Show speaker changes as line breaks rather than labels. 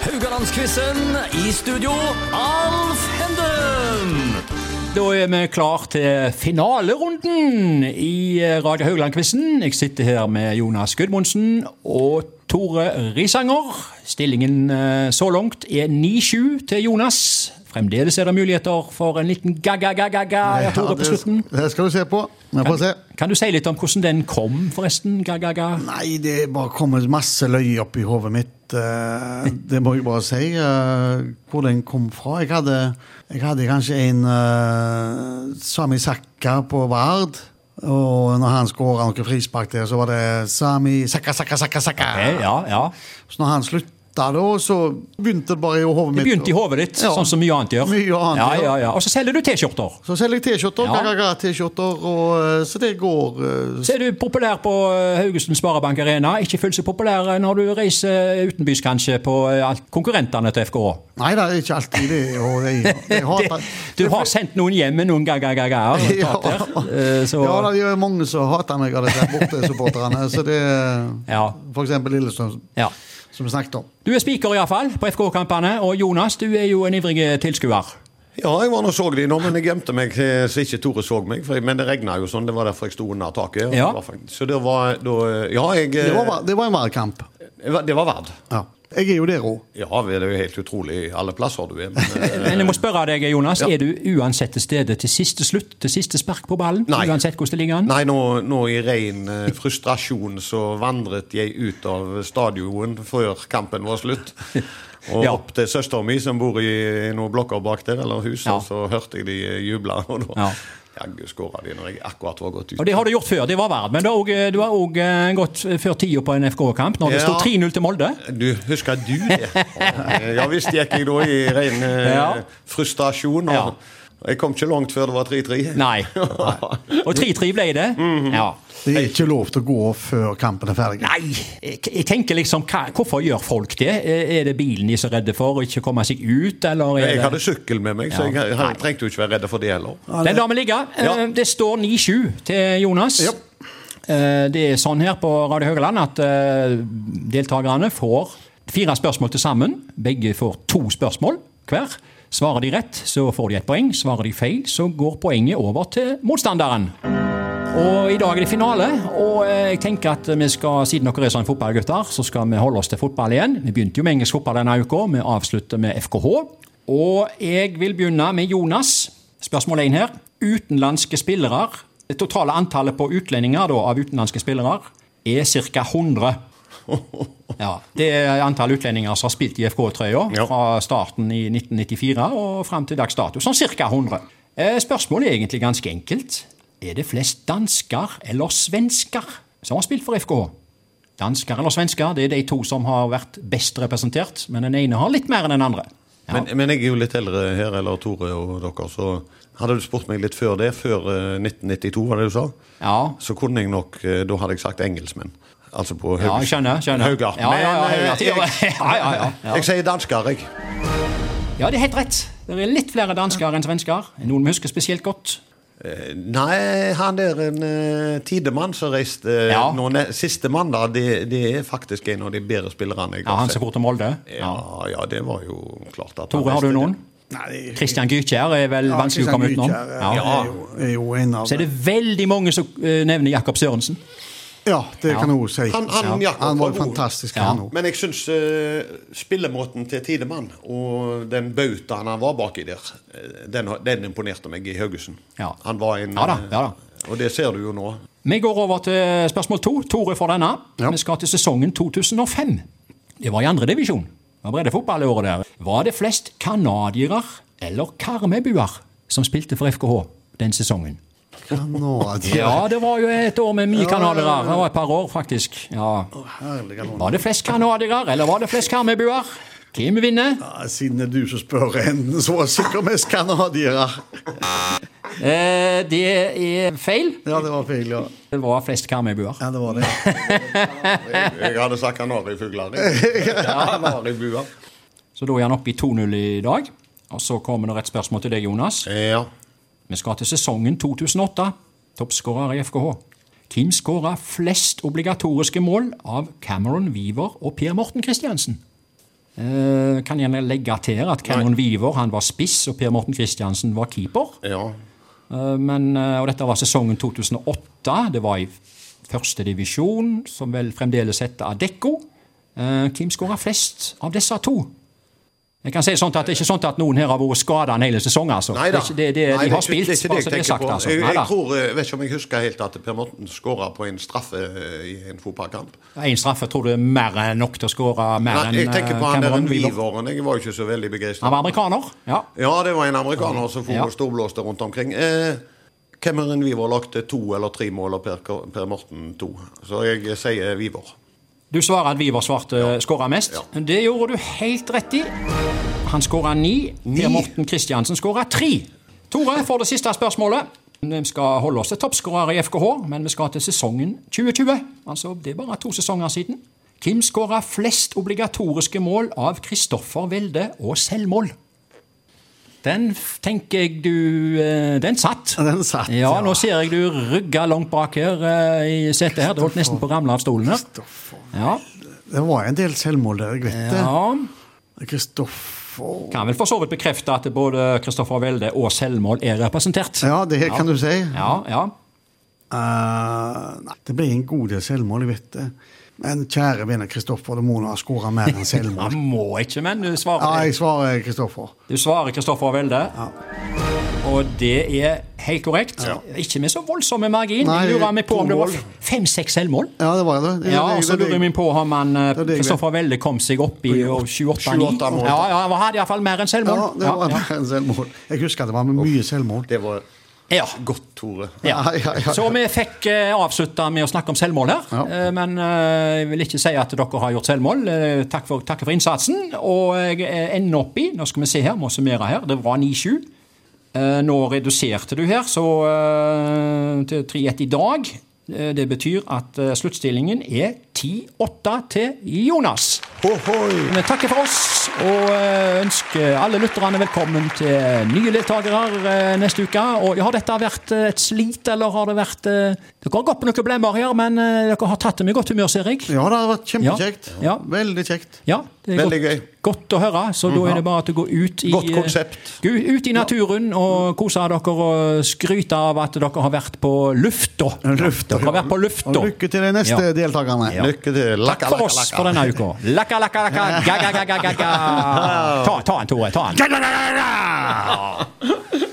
Haugalandsquizen i studio, Alf Henden!
Da er vi klar til finalerunden i eh, Radio Haugland-quizen. Jeg sitter her med Jonas Gudmundsen og Tore Risanger. Stillingen eh, så langt er 9-7 til Jonas. Fremdeles er det muligheter for en liten ga-ga-ga-ga av Tore på slutten.
Det, det skal du se på. Vi får se.
Kan du si litt om hvordan den kom, forresten? Ga-ga-ga.
Nei, det er bare kommet masse løy opp i hodet mitt. eh, Det må jeg bare si. eh, Hvor den kom fra. Jeg hadde, jeg hadde kanskje en eh, Sami Sakka på Vard. Og når han skåra noen frispark der, så var det Sami Sakka, Sakka, Sakka. Sakka.
Eh, Ja, ja.
Så når han slutta da, så begynte det bare i hodet
Det
mitt.
begynte i hodet ditt,
Ja.
sånn som mye annet gjør.
Mye annet,
ja,
ja.
ja, ja. Og så selger du T-skjorter.
Så selger jeg T-skjorter,
Ja.
Gaga-T-skjorter, og eh, så det går eh,
Så er du populær på eh, Haugesund Sparebank Arena. Ikke fullt så populær eh, når du reiser utenbys, kanskje, på eh, alt- konkurrentene til FKH.
Nei da, ikke alltid det. Og jeg, jeg hater,
Du har sendt noen hjem med noen ga-ga-ga-ga-er.
ja,
eh, Så
ja, da, det er mange som hater meg av disse bortesupporterne. Så det
Ja.
For eksempel Lillestrøm,
ja.
som vi snakket om.
Du er spiker, iallfall, på FK-kampene. Og Jonas, du er jo en ivrig eh, tilskuer.
Ja, jeg var nå så de nå, men jeg gjemte meg eh, så ikke Tore så meg. For, jeg- men det regna jo sånn, det var derfor jeg sto under taket. og
Ja.
det var fakt- Så det var da Ja, jeg eh,
Det var, bare- det var en valgkamp.
det var- Det var verd.
Ja. Jeg er jo der òg.
Ja, det er jo helt utrolig alle plasser du er. Men, eh,
Men jeg må spørre deg, Jonas.
Ja.
Er du uansett til stede til siste slutt? Til siste spark på ballen?
Nei.
Uansett hvordan det ligger an?
Nei, nå, nå i ren eh, frustrasjon så vandret jeg ut av stadion før kampen var slutt. Og
Ja.
opp til søsteren min som bor i, i noen blokker bak der, eller hus,
Ja.
og så hørte jeg de juble. Og da
Ja.
jaggu skåra de når jeg akkurat var gått ut.
Og Det har du gjort før, det var verd. Men du har også- eh, du har òg gått før tida på en FK-kamp, når det
Ja.
sto 3-0 til Molde.
Du, husker du det? Ja visst gikk jeg da i ren eh,
Ja.
frustrasjon.
Ja.
Og jeg kom ikke langt før det var 3-3.
Nei. Og 3-3 ble det.
Mhm.
Ja.
Det er ikke lov til å gå før kampen er ferdig.
Nei, jeg jeg tenker liksom, hva, hvorfor gjør folk det? Eh, Er det bilen de er så redde for, å ikke komme seg ut, eller er
Jeg
det
hadde sykkel med meg, så jeg, jeg trengte jo ikke være redd for det heller.
Den lar vi ligge. Eh,
Ja.
Det står 9-7 til Jonas.
Ja.
Eh, Det er sånn her på Radio Høgaland at eh, deltakerne får fire spørsmål til sammen. Begge får to spørsmål hver. Svarer de rett, så får de et poeng. Svarer de feil, så går poenget over til motstanderen. Og I dag er det finale, og eh, jeg tenker at vi skal, siden dere er sånn fotballgutter, så skal vi holde oss til fotball igjen. Vi begynte jo med engelsk fotball denne uka, vi avslutter med FKH. Og jeg vil begynne med Jonas. Spørsmål én her. Utenlandske spillere. Det totale antallet på utlendinger da, av utenlandske spillere er ca. 100. Ja, Det er antall utlendinger som har spilt i FK-trøya
Ja.
fra starten i 1994 og fram til dags dato. Sånn ca. 100. Eh, Spørsmålet er egentlig ganske enkelt. Er det flest dansker eller svensker som har spilt for FKH? Dansker eller svensker, det er de to som har vært best representert, men den ene har litt mer enn den andre. Ja.
Men, men jeg er jo litt eldre her, eller Tore og dere, så hadde du spurt meg litt før det, før eh, 1992, var det du sa,
Ja.
så kunne jeg nok eh, Da hadde jeg sagt engelskmenn. Altså på
Ja, jeg skjønner. skjønner.
Haugar.
Ja, ja, ja,
Men, eh,
Haugar.
jeg,
ja, ja, ja. ja.
jeg sier dansker, jeg.
ja, det er helt rett. Det er litt flere dansker enn svensker. Noen vi husker spesielt godt.
Eh, Nei, han der en eh, tidemann som reiste eh,
Ja.
nå ne- Siste mandag, det, det er faktisk en av de bedre spillerne jeg
Ja,
har
Han
sett.
som går til Molde.
Ja, ja, det var jo klart at han
Tore, har
reiste
du
dit.
noen?
Nei,
Christian Gytkjær er vel vanskelig å komme utenom.
Ja.
Ja.
Er, jo, er jo en av
Så er det veldig mange som eh, nevner Jakob Sørensen.
Ja, det kan jeg òg si.
Han, han,
Ja.
Jakob
Han var
god.
jo fantastisk,
Ja.
han òg.
Men jeg syns eh, spillemåten til Tidemann og den bautaen han var baki der, eh, den, den imponerte meg i Haugesund.
Ja.
Han var en
Ja da,
eh,
ja da.
Og det ser du jo nå.
Vi går over til spørsmål to. Tore får denne.
Ja.
Vi skal til sesongen 2005. Det var i andredivisjon. Det var breddefotballåret der. Var det flest canadiere eller karmøybuer som spilte for FKH den sesongen?
altså.
Ja, det var jo et år med mye canadiere. Det var et par år, faktisk. Ja.
Herlige land.
Var det flest canadiere, eller var det flest karmøybuer? Hvem vinner?
Ja, Siden det er du som spør en, så var det sikkert mest canadiere.
Eh, det er feil.
Ja, det var feil, ja.
Det var flest karmøybuer.
Ja, det var det.
Jeg, jeg hadde sagt kanarifugler. jeg. Kanaribuer.
Så da er han oppe i 2-0 i dag. Og så kommer det et spørsmål til deg, Jonas.
Ja.
Vi skal til sesongen 2008. Toppskårer i FKH. Hvem skåra flest obligatoriske mål av Cameron Weaver og Per Morten Christiansen? Eh, kan gjerne legge til at Cameron Wiver han var spiss, og Per Morten Kristiansen var keeper.
Ja.
Eh, Men, eh, og dette var sesongen 2008. Det var i første divisjon, som vel fremdeles heter Adecco. Eh, Hvem skåra flest av disse to? Jeg kan si sånt at Det er ikke sånn at noen her har vært skada en hel sesong. altså.
Nei
Det,
da.
er ikke- det, det,
Nei,
de har
ikke-
spilt.
det er ikke det
bare så
jeg
det er
tenker
sagt,
på.
altså.
Jeg,
Nei da.
jeg tror, jeg vet ikke om jeg husker helt at Per Morten skåra på en straffe eh, i en fotballkamp.
Én straffe tror du er mer enn nok til å skåre mer
Nei,
enn
jeg tenker
eh,
på han der
Cameron
en
Weaver.
Weaveren. Jeg var jo ikke så veldig begeistra.
Han var amerikaner. ja.
Ja, det var en amerikaner som for
Ja.
og storblåste rundt omkring. Eh, Cameron Weaver lagde to eller tre mål, og Per, per Morten to. Så jeg sier Weaver.
Du svarer at Viver svarte skåra mest.
Ja.
Det gjorde du helt rett i. Han skåra ni. Per Morten Kristiansen skåra tre. Tore får det siste spørsmålet. Vi skal holde oss til toppskårer i FKH, men vi skal til sesongen 2020. Altså, Det er bare to sesonger siden. Hvem skåra flest obligatoriske mål av Kristoffer Welde og selvmål? Den f- tenker jeg du eh, Den satt.
Den satt,
ja.
ja.
Nå ser jeg du rygger langt bak her eh, i setet her. Det holdt nesten på å ramle av stolen her. Ja.
Det var en del selvmål der, jeg vet det.
ja.
Kristoffer
Kan vel for så vidt bekrefte at både Kristoffer Welde og selvmål er representert.
Ja, det kan du si.
Ja, ja.
Eh, nei, det ble en god del selvmål, jeg vet det. Men kjære venner, Kristoffer, det må nå ha skåra mer enn
Han
selvmål.
må ikke, men du
Ja,
svarer,
jeg svarer Kristoffer.
du svarer Kristoffer Welde. Og det er helt korrekt. Ikke med så voldsomme margin.
Nei,
Jeg lurer meg på om det var
to mål.
fem-seks selvmål.
Ja, det var det. det,
Ja,
det-
og så
det-
lurer jeg meg på om han eh,
er det jeg
Kristoffer Welde kom seg opp i og 28-9.
28 mål.
Ja, ja, han hadde iallfall mer enn
Ja,
selvmål.
det var mer enn selvmål. Jeg husker det var med mye selvmål.
Det var
ja.
godt, Tore.
Ja.
Ja, ja, ja.
Så vi fikk eh, avslutta med å snakke om selvmål her.
Ja.
Eh, men eh, jeg vil ikke si at dere har gjort selvmål. Eh, takk, for, takk for innsatsen. Og jeg eh, ender opp i Nå skal vi se her, må summere her. Det var 9-7. Eh, nå reduserte du her så, eh, til 3-1 i dag. Eh, det betyr at eh, sluttstillingen er 10-8 til Jonas.
Hohoi!
Vi takker for oss og eh, ønsker alle lytterne velkommen til nye deltakere eh, neste uke. Og har dette vært eh, et slit, eller har det vært eh, Dere har gått på noen blemmer her, men eh, dere har tatt det med godt humør, ser jeg.
Ja, det har vært kjempekjekt.
Ja.
Veldig kjekt.
Ja, det er
Veldig
godt,
gøy.
godt å høre. Så
Mhm.
da er det bare at du går ut i
Godt konsept.
eh, Gå ut i naturen og kose dere og skryte av at dere har vært på lufta.
Lufta.
Dere har vært på
Og
lufta.
lykke til de neste
Ja.
deltakerne.
Ja.
Lykke til.
Takk for oss for denne uka. Lakka, lakka, lakka, ga, ga, ga, ga, ga, ga. Ta, ta en, Tore. Ta en.
Ja, ja, ja, ja, ja!